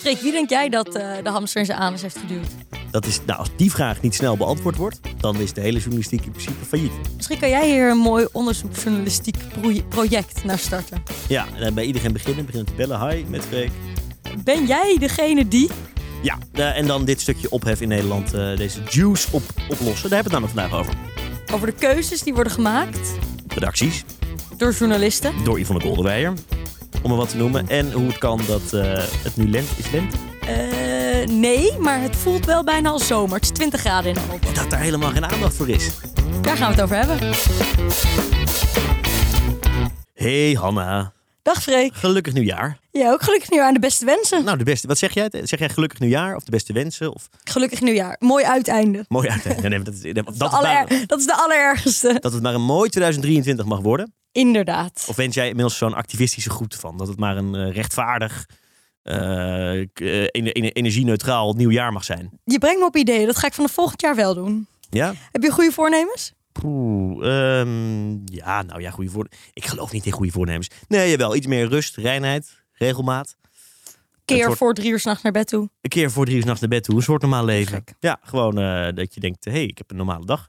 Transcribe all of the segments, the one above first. Freek, wie denk jij dat eh, de hamster in zijn anus heeft geduwd? Dat is, nou, als die vraag niet snel beantwoord wordt, dan is de hele journalistiek in principe failliet. Misschien kan jij hier een mooi onderzoeksjournalistiek proje- project naar starten. Ja, en dan bij iedereen beginnen, beginnen te bellen. Hi, met Freek. Ben jij degene die... Ja, eh, en dan dit stukje ophef in Nederland, eh, deze juice op, oplossen. Daar hebben we het namelijk vandaag over. Over de keuzes die worden gemaakt Redacties, door journalisten. door Yvonne Kolderweijer, om er wat te noemen. En hoe het kan dat eh, het nu lent is lente. Eh, nee, maar het voelt wel bijna als zomer. Het is 20 graden in Europa. Dat daar helemaal geen aandacht voor is. Daar gaan we het over hebben. Hey Hanna, Dag Freek. gelukkig nieuwjaar. Ja, ook gelukkig nieuwjaar aan de beste wensen. Nou, de beste, wat zeg jij? Zeg jij gelukkig nieuwjaar of de beste wensen? Of Gelukkig nieuwjaar. Mooi uiteinde. mooi uiteinde? Nee, dat, is- dat, is Dat, maar- aller, dat is de allerergste. dat het maar een mooi 2023 mag worden. Inderdaad. Of wens jij inmiddels zo'n activistische groet van? Dat het maar een eh, rechtvaardig, eh, k- eh, ener- ener- energie-neutraal nieuwjaar mag zijn. Je brengt me op ideeën. Dat ga ik vanaf volgend jaar wel doen. Ja? Heb je goede voornemens? Poeh, ehm, ja, nou ja, goede voornemens. Ik geloof niet in goede voornemens. Nee, jawel. Iets meer rust, reinheid, regelmaat. Keer wordt- voor drie uur s'nachts naar bed toe. Een keer voor drie uur 's nachts naar bed toe. Een soort normaal leven. Gek. Ja, gewoon eh, dat je denkt, hé, hey, ik heb een normale dag.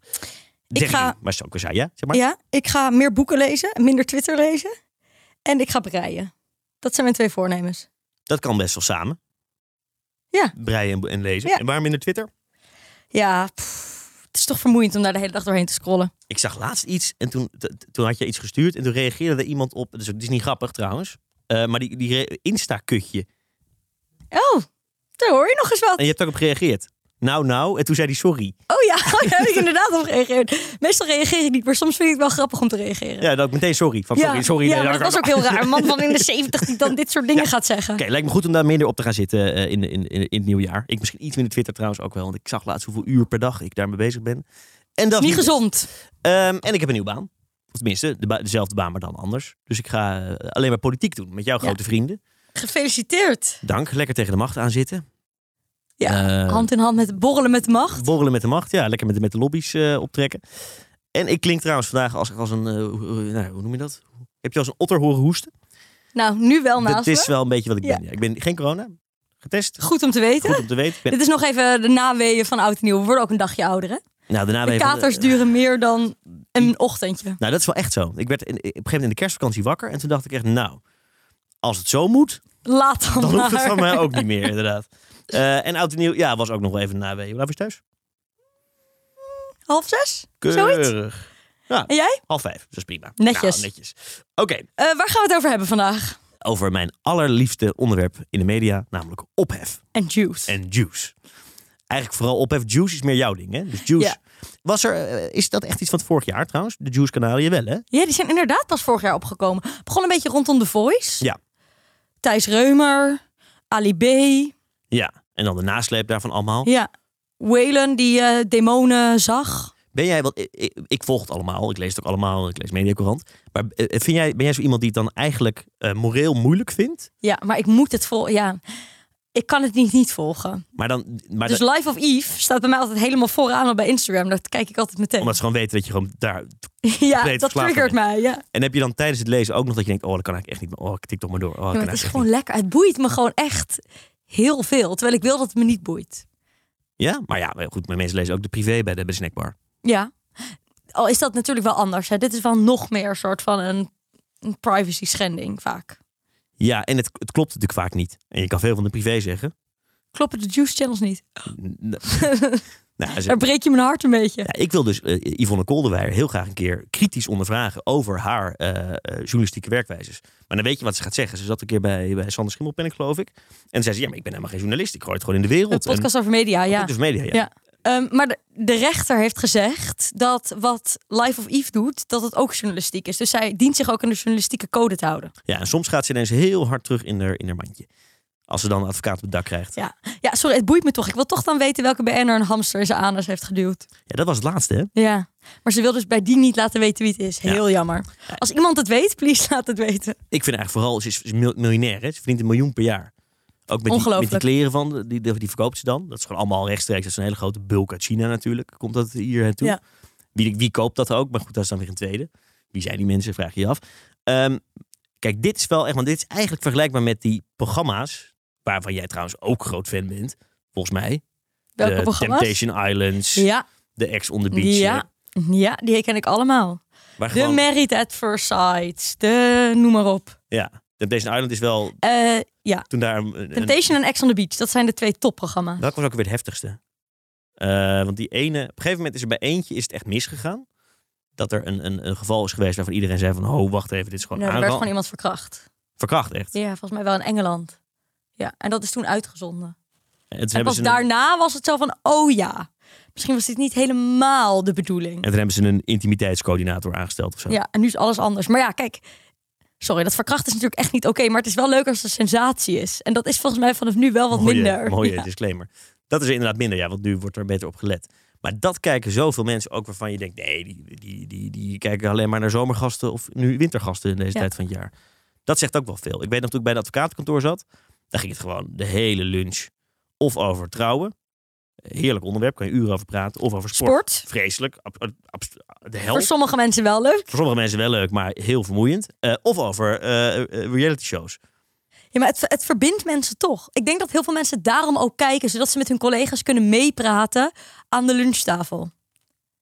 Ik Zeg ga- je, Maar zo, ik zei, ja, zeg maar. Ja, ik ga meer boeken lezen, minder Twitter lezen. En ik ga breien. Dat zijn mijn twee voornemens. Dat kan best wel samen. Ja. Breien en, en lezen. Ja. En waarom minder Twitter? Ja, pff, het is toch vermoeiend om daar de hele dag doorheen te scrollen. Ik zag laatst iets en toen, t- t- toen had je iets gestuurd en toen reageerde er iemand op. Dus het is niet grappig trouwens. eh, maar die, die re- Insta-kutje. Oh, daar hoor je nog eens wat. En je hebt ook op gereageerd. Nou, nou. En toen zei hij sorry. Oh ja, daar heb ik inderdaad op gereageerd. Meestal reageer ik niet, maar soms vind ik het wel grappig om te reageren. Ja, dat meteen sorry. Van, sorry, sorry. ja, nee, maar nou, dat was ook heel raar. Een man van in de 70 die dan dit soort dingen gaat zeggen. Ah, Oké, lijkt me goed om daar minder op te gaan zitten eh, in, in, in, in het nieuwjaar. Ik misschien iets minder Twitter trouwens ook wel. Want ik zag laatst hoeveel uur per dag ik daarmee bezig ben. En dat Niet gezond. Ehm, en ik heb een nieuwe baan. Of tenminste, de ba- dezelfde baan, maar dan anders. Dus ik ga eh, alleen maar politiek doen met jouw Ja. grote vrienden. Gefeliciteerd. Dank. Lekker tegen de macht aan zitten. Ja, Eh, Hand in hand met borrelen met de macht. Borrelen met de macht. Ja, lekker met de, met de lobby's eh, optrekken. En ik klink trouwens vandaag als, als een... eh, hoe- hoe- nou, hoe noem je dat? Heb je als een otter horen hoesten? Nou, nu wel naast dat is me. wel een beetje wat ik Ja. ben. Ja, ik ben geen corona. Getest. Goed om te weten. Goed om te weten. Ik ben- Dit is nog even de naweeën van oud en nieuw. We worden ook een dagje ouder, hè? nou, daarna De even- katers duren meer dan een ochtendje. Nou, dat is wel echt zo. Ik werd in, op een gegeven moment in de kerstvakantie wakker. En toen dacht ik echt, nou, als het zo moet, Laat dan, dan hoeft het maar. van mij ook niet meer, inderdaad. Eh, en oud en nieuw, ja, was ook nog wel even na Hoe laat was je thuis? Half zes? Zoiets? En jij? Half vijf, dus dat is prima. Netjes. Nou, netjes. Oké, Eh, waar gaan we het over hebben vandaag? over mijn allerliefste onderwerp in de media, namelijk ophef En juice. en juice. Eigenlijk vooral ophef. Juice is meer jouw ding, hè? Dus juice. Was er, eh, is dat echt iets van het vorig jaar trouwens? De Juice Canarie wel, hè? Ja, die zijn inderdaad pas vorig jaar opgekomen. Begon een beetje rondom The Voice. Ja. Thijs Reumer, Ali B. Ja. En dan de nasleep daarvan allemaal. Ja. Waylon die eh, demonen zag. Ben jij, want ik, ik- ik volg het allemaal, ik lees het ook allemaal, ik lees Mediacorant. Maar eh, vind jij, ben jij zo iemand die het dan eigenlijk eh, moreel moeilijk vindt? Ja, maar ik moet het vol. Ja, ik kan het niet, niet volgen. Maar dan, maar dus dan- Life of Eve staat bij mij altijd helemaal vooraan al bij Instagram. Dat kijk ik altijd meteen. omdat ze gewoon weten dat je gewoon daar... ja, compleet dat verslaafd triggert mij. Ja. En heb je dan tijdens het lezen ook nog dat je denkt, oh, dat kan ik echt niet meer. Oh, ik tik toch maar door. Oh, dat Ja, kan maar het is eigenlijk gewoon lekker. Het boeit me gewoon echt heel veel. Terwijl ik wil dat het me niet boeit. echt niet. Ja, maar ja, maar goed, maar mensen lezen ook de privé bij de, bij de snackbar. Ja. Al is dat natuurlijk wel anders. Hè. Dit is wel nog meer een soort van een, een privacy schending vaak. Ja, en het, het klopt natuurlijk vaak niet. En je kan veel van de privé zeggen. Kloppen de juice channels niet? N- nou, ze- Daar breek je mijn hart een beetje. Ja, ik wil dus eh, Yvonne Kolderweijer heel graag een keer kritisch ondervragen over haar eh, eh, journalistieke werkwijzes. Maar dan weet je wat ze gaat zeggen. Ze zat een keer bij, bij Sander Schimmelpenninck, geloof ik. En toen zei ze, ja, maar ik ben helemaal geen journalist. Ik gooi het gewoon in de Een wereld. podcast over media, en, ja. Dus media, ja. Ja. Ehm, maar de, de rechter heeft gezegd dat wat Life of Eve doet, dat het ook journalistiek is. Dus zij dient zich ook aan de journalistieke code te houden. Ja, en soms gaat ze ineens heel hard terug in haar, in haar mandje. Als ze dan een advocaat op het dak krijgt. Ja. Ja. ja, sorry, het boeit me toch. Ik wil toch dan weten welke BN'er een hamster in zijn anus heeft geduwd. dat was het laatste, hè? Ja, maar ze wil dus bij die niet laten weten wie het is. Heel jammer. Als iemand het weet, please laat het weten. Ik vind eigenlijk vooral, ze is, ze is mil- miljonair, hè? Ze verdient een miljoen per jaar. Ook met die, met Ongelooflijk. die kleren van, de- die, die verkoopt ze dan. Dat is gewoon allemaal rechtstreeks. Dat is een hele grote bulk uit China natuurlijk. Komt dat hier naartoe? Ja. Wie, wie koopt dat ook? Maar goed, dat is dan weer een tweede. Wie zijn die mensen, vraag je je af. Ehm, kijk, dit is wel echt, want dit is eigenlijk vergelijkbaar met die programma's Waarvan jij trouwens ook groot fan bent, volgens mij. Welke de programma's? Temptation Islands, Ja, de Ex on the Beach. eh, ja, ja, die ken ik allemaal. Waar De gewoon, Married at First Sight, de noem maar op. ja, Temptation Island is wel Eh, ja, toen daar... een- een- Temptation en Ex on the Beach, dat zijn de twee topprogramma's. Welke was ook weer het heftigste? Eh, want die ene, op een gegeven moment is er bij eentje is het echt misgegaan. Dat er een, een, een geval is geweest waarvan iedereen zei van... Oh, wacht even, dit is gewoon Nou, er werd aanval. gewoon iemand verkracht. Verkracht, echt. Ja, volgens mij wel in Engeland. Ja, en dat is toen uitgezonden. En toen, En hebben pas ze een, en daarna was het zo van, oh ja, misschien was dit niet helemaal de bedoeling. toen hebben ze een intimiteitscoördinator aangesteld of zo. Ja, en nu is alles anders. Maar ja, kijk, sorry, dat verkrachten is natuurlijk echt niet oké, maar het is wel leuk als het een sensatie is. En dat is volgens mij vanaf nu wel wat mooie, minder. Mooie Ja. disclaimer. Dat is inderdaad minder, ja, want nu wordt er beter op gelet. Maar dat kijken zoveel mensen ook waarvan je denkt... Nee, die, die, die, die kijken alleen maar naar zomergasten of nu wintergasten in deze Ja. tijd van het jaar. Dat zegt ook wel veel. Ik weet nog toen ik bij een advocatenkantoor zat... daar ging het gewoon de hele lunch of over trouwen. Heerlijk onderwerp, kan je uren over praten. Of over sport. Sport. Vreselijk. ab- ab- abs- de Voor helft. sommige mensen wel leuk. Voor sommige mensen wel leuk, maar heel vermoeiend. Eh, of over eh, eh, reality shows. Ja, maar het, het verbindt mensen toch. Ik denk dat heel veel mensen daarom ook kijken, zodat ze met hun collega's kunnen meepraten aan de lunchtafel.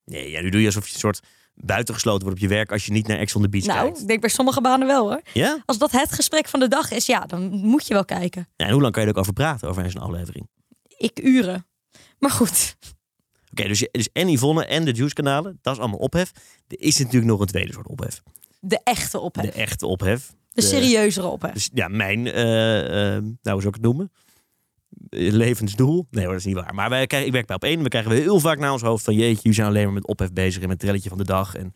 Nee, ja, nu doe je alsof je een soort buitengesloten wordt op je werk als je niet naar Ex on the Beach Nou, kijkt. ik denk bij sommige banen wel hoor. Ja? Als dat het gesprek van de dag is, ja, dan moet je wel kijken. Ja, En hoe lang kan je er ook over praten over een aflevering? Oké, ik uren. Maar goed, dus, je- dus en Yvonne en de Juice kanalen, dat is allemaal ophef. Er is natuurlijk nog een tweede soort ophef. de echte ophef. De De, echte ophef. de- serieuzere ophef. Dus ja, mijn, eh, eh, nou hoe zou ik het noemen? Eh, Levensdoel? Nee hoor, dat is niet waar. Maar wij krijgen, ik werk bij op één. We krijgen heel vaak naar ons hoofd van jeetje, jullie zijn alleen maar met ophef bezig en met het trelletje van de dag. En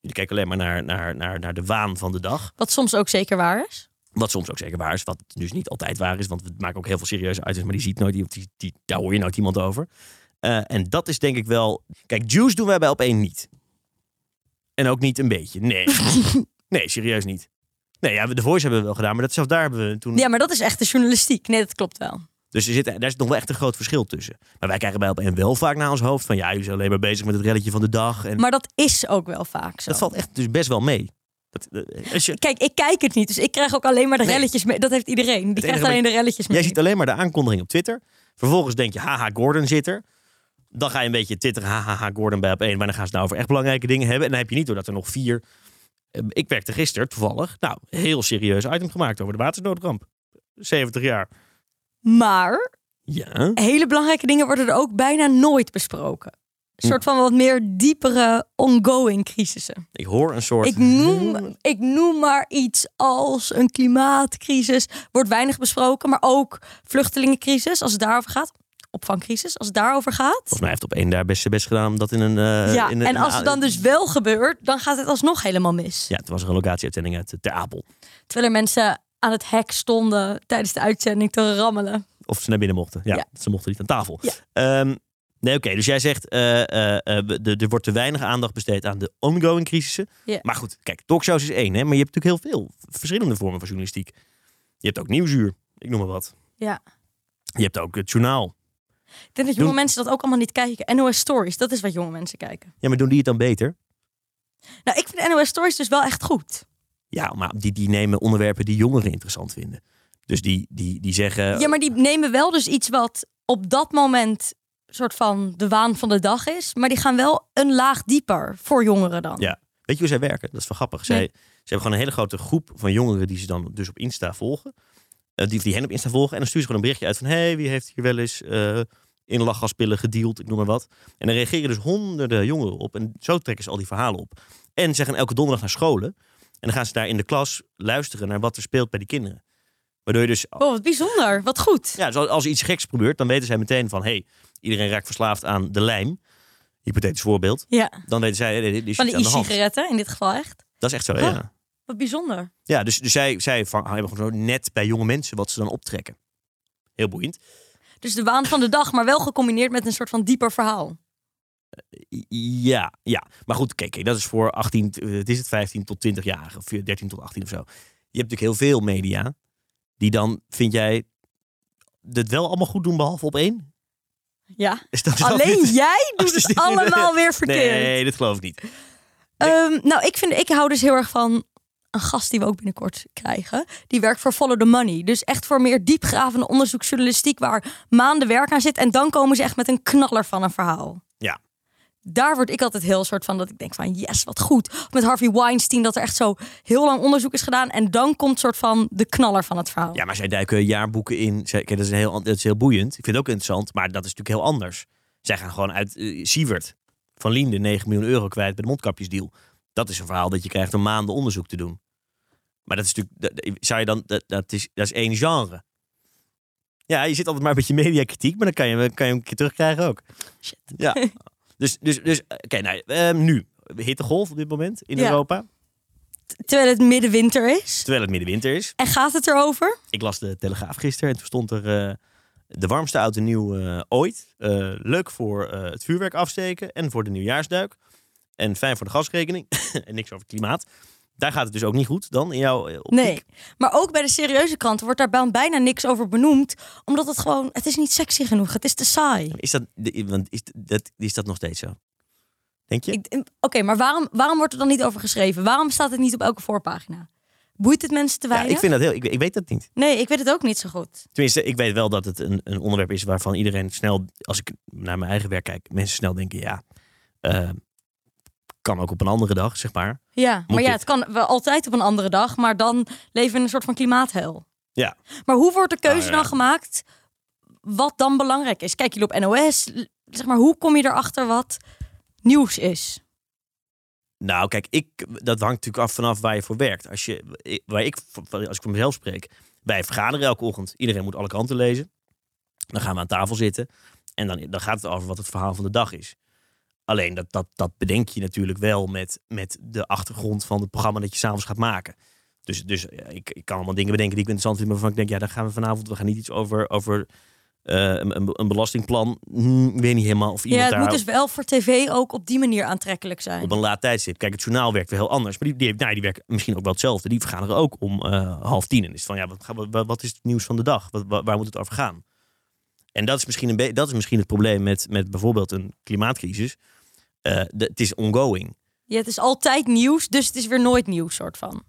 jullie kijken alleen maar naar, naar, naar, naar de waan van de dag. Wat soms ook zeker waar is. Wat soms ook zeker waar is, wat dus niet altijd waar is. Want we maken ook heel veel serieuze uitzendingen, maar die ziet nooit iemand. Die, die, daar hoor je nooit iemand over. Eh, en dat is denk ik wel... Kijk, juice doen wij bij op één niet. En ook niet een beetje. Nee. nee, serieus niet. Nee, ja, de Voice hebben we wel gedaan, maar dat zelfs daar hebben we toen... Ja, maar dat is echt de journalistiek. Nee, dat klopt wel. Dus er zit, daar zit nog wel echt een groot verschil tussen. Maar wij krijgen bij op één wel vaak naar ons hoofd van... Ja, jullie zijn alleen maar bezig met het relletje van de dag. En Maar dat is ook wel vaak zo. dat valt echt dus best wel mee. Dat, eh, als je, Kijk, ik kijk het niet, dus ik krijg ook alleen maar de Nee. relletjes mee. Dat heeft iedereen. Die krijgt enige alleen de relletjes mee. Jij ziet alleen maar de aankondiging op Twitter. Vervolgens denk je, haha, Gordon zit er. Dan ga je een beetje twitteren, haha, Gordon bij op één. Maar dan gaan ze het nou over echt belangrijke dingen hebben. En dan heb je niet doordat er nog vier... Eh, Ik werkte gisteren, toevallig, nou, heel serieus item gemaakt over de waternoodramp. 70 jaar. Maar Ja. hele belangrijke dingen worden er ook bijna nooit besproken. Hm. Een soort van wat meer diepere ongoing crisissen. Ik hoor een soort... Ik noem, ik noem maar iets als een klimaatcrisis. Wordt weinig besproken, maar ook vluchtelingencrisis, als het daarover gaat. Opvangcrisis, als het daarover gaat. Volgens mij heeft op één daar best zijn best gedaan om dat in een... eh, ja, in een- en als het dan dus wel gebeurt, dan gaat het alsnog helemaal mis. Ja, toen was er een locatieuitzending uit eh, Ter Apel. Terwijl er mensen aan het hek stonden tijdens de uitzending te rammelen. Of ze naar binnen mochten. Ja, Ja. ze mochten niet aan tafel. Ja. Ehm, nee, oké. dus jij zegt, eh, eh, eh, we- de- er wordt te weinig aandacht besteed aan de ongoing crisissen. Ja. Maar goed, kijk, talkshows is één. Hè, maar je hebt natuurlijk heel veel verschillende vormen van journalistiek. Je hebt ook nieuwsuur, ik noem maar wat. Ja. Je hebt ook het journaal. Ik denk dat jonge Doen- mensen dat ook allemaal niet kijken. NOS Stories, dat is wat jonge mensen kijken. Ja, maar doen die het dan beter? Nou, ik vind NOS Stories dus wel echt goed. Ja, maar die, die nemen onderwerpen die jongeren interessant vinden. Dus die, die, die zeggen... Ja, maar die nemen wel dus iets wat op dat moment soort van de waan van de dag is. Maar die gaan wel een laag dieper voor jongeren dan. Ja. Weet je hoe zij werken? Dat is wel grappig. Zij, Nee. ze hebben gewoon een hele grote groep van jongeren die ze dan dus op Insta volgen. Eh, die, die hen op Insta volgen. En dan sturen ze gewoon een berichtje uit van... hey, wie heeft hier wel eens eh, in lachgaspillen gedeeld? Ik noem maar wat. En dan reageren dus honderden jongeren op. En zo trekken ze al die verhalen op. En ze gaan elke donderdag naar scholen. En dan gaan ze daar in de klas luisteren naar wat er speelt bij die kinderen. Waardoor je dus... Oh, wat bijzonder. Wat goed. Ja, dus als- als er iets geks gebeurt, dan weten zij meteen van... hey, iedereen raakt verslaafd aan de lijm. Hypothetisch voorbeeld. Ja. Dan weten zij, hey, dit is Van iets de aan de hand. e-sigaretten in dit geval echt. Dat is echt zo, Huh? ja. Wat bijzonder. Ja, dus, dus zij, zij vang- hebben gewoon zo net bij jonge mensen wat ze dan optrekken. Heel boeiend. Dus de waan van de dag, maar wel gecombineerd met een soort van dieper verhaal. I- Ja, ja. Maar goed, kijk, kijk, dat is voor 18, eh, het is het 15 tot 20 jaar, of eh, 13 tot 18 of zo. Je hebt natuurlijk heel veel media die dan, vind jij, dit wel allemaal goed doen behalve op één? Ja. Is dat Alleen jij Als doet dit het niet- allemaal weer verkeerd. Nee, dat geloof ik niet. Ehm, nou, ik, vind, ik hou dus heel erg van een gast die we ook binnenkort krijgen. Die werkt voor Follow the Money. Dus echt voor meer diepgravende onderzoeksjournalistiek waar maanden werk aan zit. En dan komen ze echt met een knaller van een verhaal. Ja. Daar word ik altijd heel soort van dat ik denk van yes, wat goed. Of met Harvey Weinstein dat er echt zo heel lang onderzoek is gedaan. En dan komt soort van de knaller van het verhaal. Ja, maar zij duiken jaarboeken in. Zij, kijk, dat, is een heel, an- dat is heel boeiend. Ik vind het ook interessant, maar dat is natuurlijk heel anders. Zij gaan gewoon uit eh, Sievert van Liende 9 miljoen euro kwijt bij de mondkapjesdeal. Dat is een verhaal dat je krijgt om maanden onderzoek te doen. Maar dat is natuurlijk, dat- dat- zou je dan, dat, dat, is, dat is één genre. Ja, je zit altijd maar met je mediakritiek, maar dan kan je, kan je hem een keer terugkrijgen ook. Shit. Ja. Dus, dus, dus eh, oké, nou, eh, nu. Hittegolf op dit moment in Ja. Europa, Terwijl het middenwinter is. terwijl het middenwinter is. En gaat het erover? Ik las de Telegraaf gisteren en toen stond er eh, de warmste oud en nieuw eh, ooit. Eh, leuk voor eh, het vuurwerk afsteken en voor de nieuwjaarsduik. En fijn voor de gasrekening. en niks over het klimaat. Daar gaat het dus ook niet goed dan in jouw eh, optiek. Nee. Maar ook bij de serieuze kranten wordt daar bijna- bijna niks over benoemd. Omdat het gewoon, het is niet sexy genoeg. Het is te saai. Is dat, de- want is, dat, is dat nog steeds zo? Denk je? Ik- Oké, maar waarom, waarom wordt er dan niet over geschreven? Waarom staat het niet op elke voorpagina? Boeit het mensen te ja, weinig? ik, vind dat heel, ik, ik weet dat niet. Nee, ik weet het ook niet zo goed. Tenminste, ik weet wel dat het een, een onderwerp is waarvan iedereen snel, als ik naar mijn eigen werk kijk, mensen snel denken, ja, eh, kan ook op een andere dag, zeg maar. Ja, maar ja, dit? het kan wel altijd op een andere dag, maar dan leven we in een soort van klimaathel. Ja. Maar hoe wordt de keuze Nou, ja. dan gemaakt wat dan belangrijk is? Kijk jullie op NOS, l- zeg maar, hoe kom je erachter wat nieuws is? Nou, kijk, ik, dat hangt natuurlijk af vanaf waar je voor werkt. Als je, ik- waar ik, voor- voor- als ik voor mezelf spreek, wij vergaderen elke ochtend. Iedereen moet alle kranten lezen. Dan gaan we aan tafel zitten. En dan, dan gaat het over wat het verhaal van de dag is. Alleen dat, dat, dat bedenk je natuurlijk wel met, met de achtergrond van het programma dat je s'avonds gaat maken. Dus, dus ja, ik, ik kan allemaal dingen bedenken die ik interessant vind, maar waarvan ik denk, ja, daar gaan we vanavond, we gaan niet iets over, over eh, een, een- een belastingplan. Hm, ik weet niet helemaal of iemand ja, het daar moet dus wel voor tv ook op die manier aantrekkelijk zijn. op een laat tijdstip. Kijk, het journaal werkt weer heel anders. Maar die, die, nou, die werken misschien ook wel hetzelfde. Die vergaderen ook om eh, half tien. En is het van, ja, wat, gaan we- wat, wat is het nieuws van de dag? Wat, wa- waar moet het over gaan? En dat is misschien, een be- dat is misschien het probleem met, met bijvoorbeeld een klimaatcrisis. Eh, de- het is ongoing. Ja, het is altijd nieuws, dus het is weer nooit nieuws, soort van.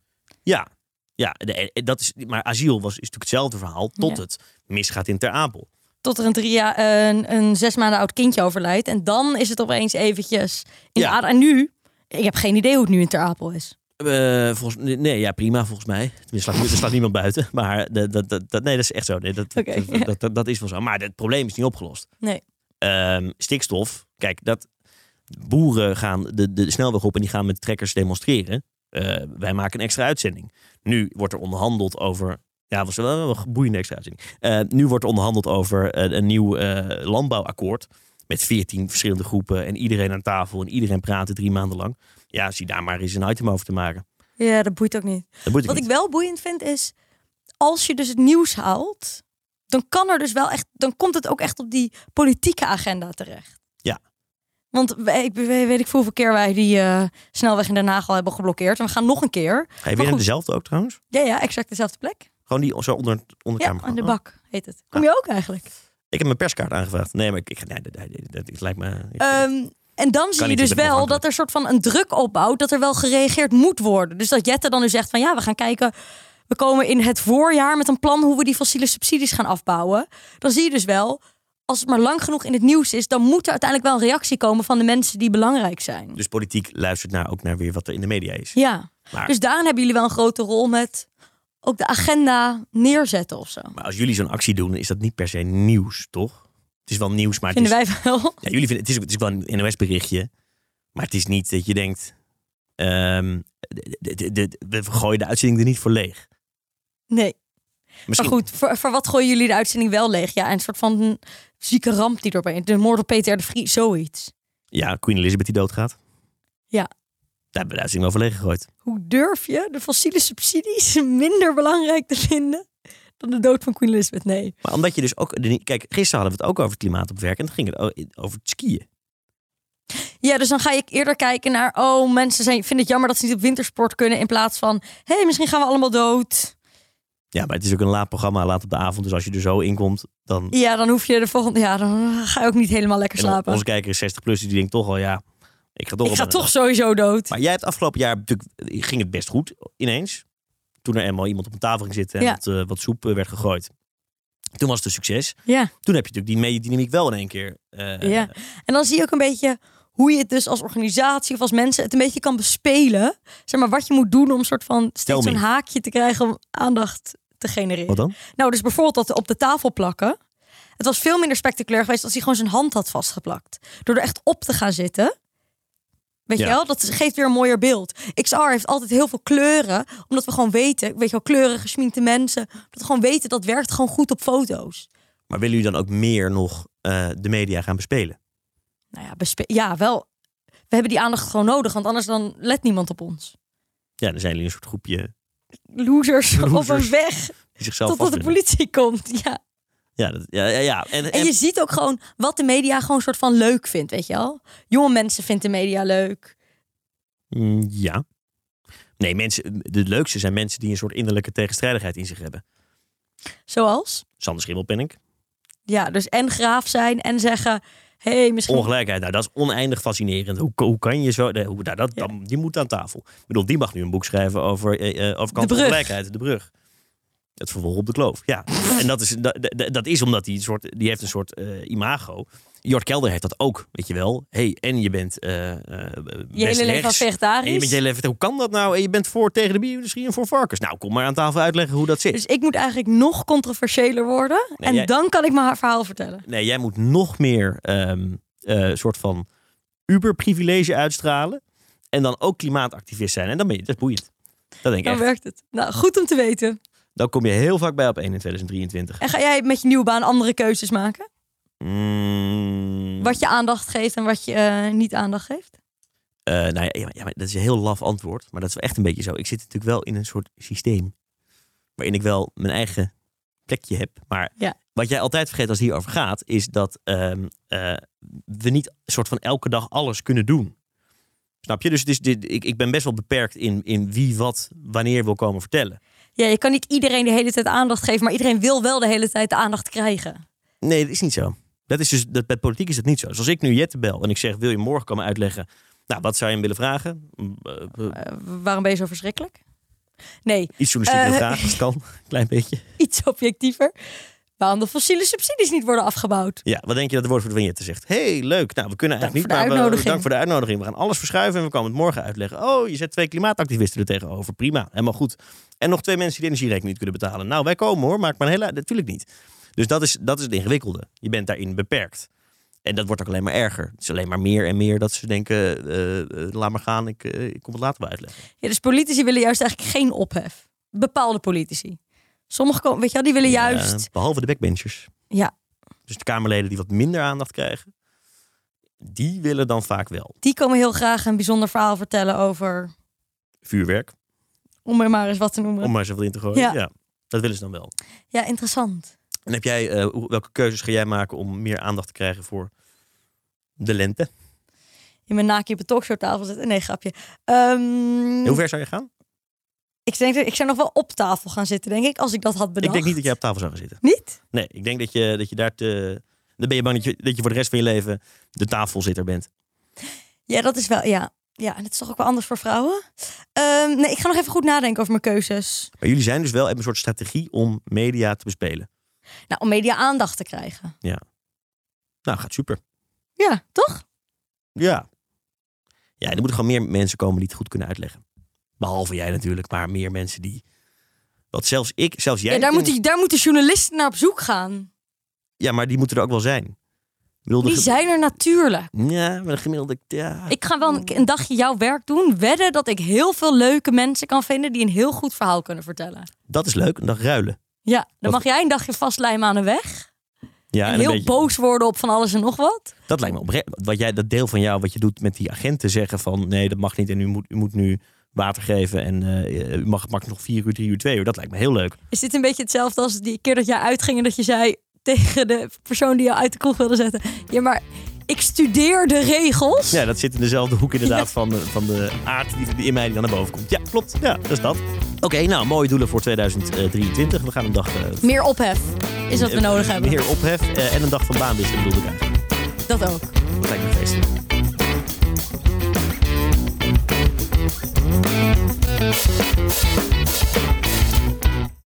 Ja, ja de- eh, dat is, maar asiel was, is natuurlijk hetzelfde verhaal tot Ja. het misgaat in Ter Apel. Tot er een, drie jaar, een, een zes maanden oud kindje overlijdt. En dan is het opeens eventjes in Ja. de aarde. En nu, ik heb geen idee hoe het nu in Ter Apel is. Eh, volgens, nee, ja, prima volgens mij. Tenminste, slaat- er slaat niemand buiten. Maar dat, dat, dat, dat- nee, dat is echt zo. Nee, dat, Oké, dat, ja. dat, dat, dat is wel zo. Maar het probleem is niet opgelost. Nee. Ehm, stikstof, kijk, dat boeren gaan de, de snelweg op en die gaan met trekkers demonstreren. Eh, wij maken een extra uitzending. Nu wordt er onderhandeld over. Ja, was wel een boeiende extra uitzending. Eh, nu wordt er onderhandeld over eh, een nieuw eh, landbouwakkoord. Met veertien verschillende groepen en iedereen aan tafel en iedereen praten drie maanden lang. Ja, zie daar maar eens een item over te maken. Ja, dat boeit ook niet. Dat moet ik Wat ik niet. wel boeiend vind is, als je dus het nieuws haalt, dan kan er dus wel echt, dan komt het ook echt op die politieke agenda terecht. Ja. Want wij- ik weet weet ik veel hoeveel keer wij die eh, snelweg in Den Haag al hebben geblokkeerd. En we gaan nog een keer. Ga je weer in goed. dezelfde ook trouwens? Ja, ja, exact dezelfde plek. Gewoon die zo onder Ja, onderkamer. aan de gaan. bak heet het. Kom je ook eigenlijk? Ik heb mijn perskaart aangevraagd. Nee, maar ik, ik, nee, dat, dat, dat- het lijkt me. ik- Ehm, en dan zie niet, je ik dus ben wel onafhankelijk. dat er soort van een druk opbouwt, dat er wel gereageerd moet worden. Dus dat Jette dan nu zegt van ja, we gaan kijken, we komen in het voorjaar met een plan hoe we die fossiele subsidies gaan afbouwen. Dan zie je dus wel, als het maar lang genoeg in het nieuws is, dan moet er uiteindelijk wel een reactie komen van de mensen die belangrijk zijn. Dus politiek luistert naar, ook naar weer wat er in de media is. Ja, Maar, dus daarin hebben jullie wel een grote rol met ook de agenda neerzetten of zo. maar als jullie zo'n actie doen, is dat niet per se nieuws, toch? Het is wel nieuws, maar het is, Vinden wij wel. ja, jullie vinden, het, is, ook- het is wel een NOS-berichtje. Maar het is niet dat je denkt, ehm, de- de- de- de- we gooien de uitzending er niet voor leeg. Nee. Misschien, Maar goed, voor, voor wat gooien jullie de uitzending wel leeg? Ja, een soort van zieke ramp die erbij. De moord op Peter R. de Vries, zoiets. Ja, Queen Elizabeth die doodgaat. Ja. Daar hebben we de uitzending wel voor leeg gegooid. Hoe durf je de fossiele subsidies minder belangrijk te vinden dan de dood van Queen Elizabeth? Nee. Maar omdat je dus ook... de- Kijk, gisteren hadden we het ook over het klimaat op werk. En dan ging het o- over het skiën. Ja, dus dan ga ik eerder kijken naar, oh, mensen zijn, vinden het jammer dat ze niet op wintersport kunnen. In plaats van, hé, hey, misschien gaan we allemaal dood. Ja, maar het is ook een laat programma, laat op de avond. Dus als je er zo inkomt, dan... Ja, dan hoef je de volgende, ja, dan ga je ook niet helemaal lekker En slapen. onze kijker is 60 plus, die denkt toch al, ja, Ik ga door. Ik op ga mijn dag. toch sowieso dood. Maar jij hebt afgelopen jaar natuurlijk, ging het best goed ineens. Toen er eenmaal iemand op een tafel ging zitten en Ja. wat, eh, wat soep eh, werd gegooid. Toen was het een succes. Ja. Toen heb je natuurlijk die mediadynamiek wel in één keer. eh, Ja. En dan zie je ook een beetje hoe je het dus als organisatie of als mensen het een beetje kan bespelen. Zeg maar wat je moet doen om soort van steeds me. een haakje te krijgen om aandacht te genereren. Wat dan? Nou, dus bijvoorbeeld dat op de tafel plakken. Het was veel minder spectaculair geweest als hij gewoon zijn hand had vastgeplakt. Door er echt op te gaan zitten. Weet Ja. je wel, dat geeft weer een mooier beeld. XR heeft altijd heel veel kleuren, omdat we gewoon weten, weet je wel, kleuren, geschminkte mensen, dat we gewoon weten dat werkt gewoon goed op foto's. Maar willen jullie dan ook meer nog eh, de media gaan bespelen? Nou ja, bespe- ja, wel. We hebben die aandacht gewoon nodig, want anders dan let niemand op ons. Ja, dan zijn jullie een soort groepje Losers, op Losers. een weg die zichzelf totdat de vastbinden. politie komt. Ja. Ja, dat, ja, ja, ja. En, en, En je ziet ook gewoon wat de media gewoon soort van leuk vindt, weet je wel? Jonge mensen vindt de media leuk. Mm, ja. Nee, mensen, de leukste zijn mensen die een soort innerlijke tegenstrijdigheid in zich hebben. Zoals? Sander Schimmelpennink. Ja, dus en graaf zijn en zeggen... Hé, hey, misschien... Ongelijkheid, nou, dat is oneindig fascinerend. Hoe, hoe kan je zo... nee, hoe, nou, dat, Ja. dan- die moet aan tafel. Ik bedoel, die mag nu een boek schrijven over, eh, eh, over brug. kansongelijkheid. De brug. Het vervolg op de kloof, ja. en dat is, dat, dat- dat is omdat die, een soort, die heeft een soort eh, imago. Jort Kelder heeft dat ook, weet je wel. hey, en je bent eh, eh, je hele best leven al rechts. En vegetarisch. je bent je hele leven- hoe kan dat nou? En je bent voor tegen de bio-industrie en voor varkens. Nou, kom maar aan tafel uitleggen hoe dat zit. Dus ik moet eigenlijk nog controversiëler worden. Nee, en jij- dan kan ik mijn verhaal vertellen. Nee, jij moet nog meer ehm eh, soort van uberprivilege uitstralen. En dan ook klimaatactivist zijn. En dan ben je, dat is boeiend. Dat denk ik Dan echt. werkt het. Nou, goed om te weten. Dan kom je heel vaak bij op 1 in 2023. En ga jij met je nieuwe baan andere keuzes maken? Mm, Wat je aandacht geeft en wat je eh, niet aandacht geeft? eh, nou ja, ja, maar- ja, maar dat is een heel laf antwoord. Maar dat is wel echt een beetje zo. Ik zit natuurlijk wel in een soort systeem. Waarin ik wel mijn eigen plekje heb. Maar Ja. wat jij altijd vergeet als het hierover gaat. Is dat ehm, eh, we niet soort van elke dag alles kunnen doen. Snap je? Dus het is, dit, ik, ik ben best wel beperkt in, in wie wat wanneer wil komen vertellen. Ja, je kan niet iedereen de hele tijd aandacht geven, maar iedereen wil wel de hele tijd de aandacht krijgen. Nee, dat is niet zo. Dat is dus, dat, bij politiek is dat niet zo. Dus als ik nu Jette bel en ik zeg, wil je morgen komen uitleggen? Nou, wat zou je hem willen vragen? Mm, eh, eh, Eh, waarom ben je zo verschrikkelijk? Nee, Iets journalistiek Eh, willen vragen, als het kan. Klein beetje. iets objectiever. Waarom de fossiele subsidies niet worden afgebouwd? Ja, wat denk je dat de woordvoerder van Jette zegt? hey, leuk. Nou, we kunnen Dank voor eigenlijk de niet, maar we, uitnodiging. dank voor de uitnodiging. We gaan alles verschuiven en we komen het morgen uitleggen. Oh, je zet twee klimaatactivisten er tegenover. Prima, helemaal goed. En nog twee mensen die de energierekening niet kunnen betalen. Nou, wij komen hoor, maak maar een hele... Natuurlijk niet. Dus dat is, dat is het ingewikkelde. Je bent daarin beperkt. En dat wordt ook alleen maar erger. Het is alleen maar meer en meer dat ze denken, eh, eh, laat maar gaan, ik, eh, ik kom het later wel uitleggen. Ja, dus politici willen juist eigenlijk geen ophef. Bepaalde politici. Sommige, ko- weet je wel, die willen Ja, juist... behalve de backbenchers. Ja. Dus de Kamerleden die wat minder aandacht krijgen, die willen dan vaak wel Die komen heel graag een bijzonder verhaal vertellen over... vuurwerk. Om er maar eens wat te noemen. Om maar zoveel in te gooien. Ja. Ja. dat willen ze dan wel. Ja, interessant. En heb jij, eh, hoe- welke keuzes ga jij maken om meer aandacht te krijgen voor de lente? In mijn naakje op de talkshowtafel zitten. Nee, grapje. Ehm, En hoe ver zou je gaan? ik, denk dat, ik zou nog wel op tafel gaan zitten, denk ik. Als ik dat had bedacht. Ik denk niet dat jij op tafel zou gaan zitten. Niet? Nee, ik denk dat je, dat je daar te... Dan ben je bang dat je, dat je voor de rest van je leven de tafelzitter bent. Ja, dat is wel... Ja, ja en het is toch ook wel anders voor vrouwen? Ehm, nee, ik ga nog even goed nadenken over mijn keuzes. Maar jullie zijn dus wel hebben een soort strategie om media te bespelen. Nou, om media aandacht te krijgen. Nou, gaat super. Ja, toch? Ja. Ja, er moeten gewoon meer mensen komen die het goed kunnen uitleggen. Behalve jij natuurlijk, maar meer mensen die... Want zelfs ik, zelfs jij... Ja, daar, kunt- moet die, daar moeten journalisten naar op zoek gaan. ja maar die moeten er ook wel zijn. Ik bedoel, de Die ge- zijn er natuurlijk. Ja, maar de gemiddelde... Ja. Ik ga wel een, een dagje jouw werk doen. Wedden dat ik heel veel leuke mensen kan vinden die een heel goed verhaal kunnen vertellen. Dat is leuk, een dag ruilen. Ja, Wat- dan mag jij een dagje vastlijmen aan een weg. Ja, En een heel beetje- boos worden op van alles en nog wat. Dat lijkt me oprecht. Wat jij, dat deel van jou, wat je doet met die agenten zeggen van... nee, dat mag niet en u moet, u moet nu water geven... en eh, u mag makkelijk nog vier uur, drie uur, twee uur. Dat lijkt me heel leuk. Is dit een beetje hetzelfde als die keer dat jij uitging en dat je zei tegen de persoon die jou uit de kroeg wilde zetten. Ja, maar ik studeer de regels. Ja, dat zit in dezelfde hoek inderdaad van, de, van de aard die, die in mij die dan naar boven komt. Ja, klopt. Ja, dat is dat. Oké, nou, mooie doelen voor 2023. We gaan een dag... eh, Meer ophef is wat we eh, nodig hebben. Meer ophef eh, en een dag van baanwisselen bedoel ik eigenlijk. Dat ook. Dat lijkt me feest. Thank you.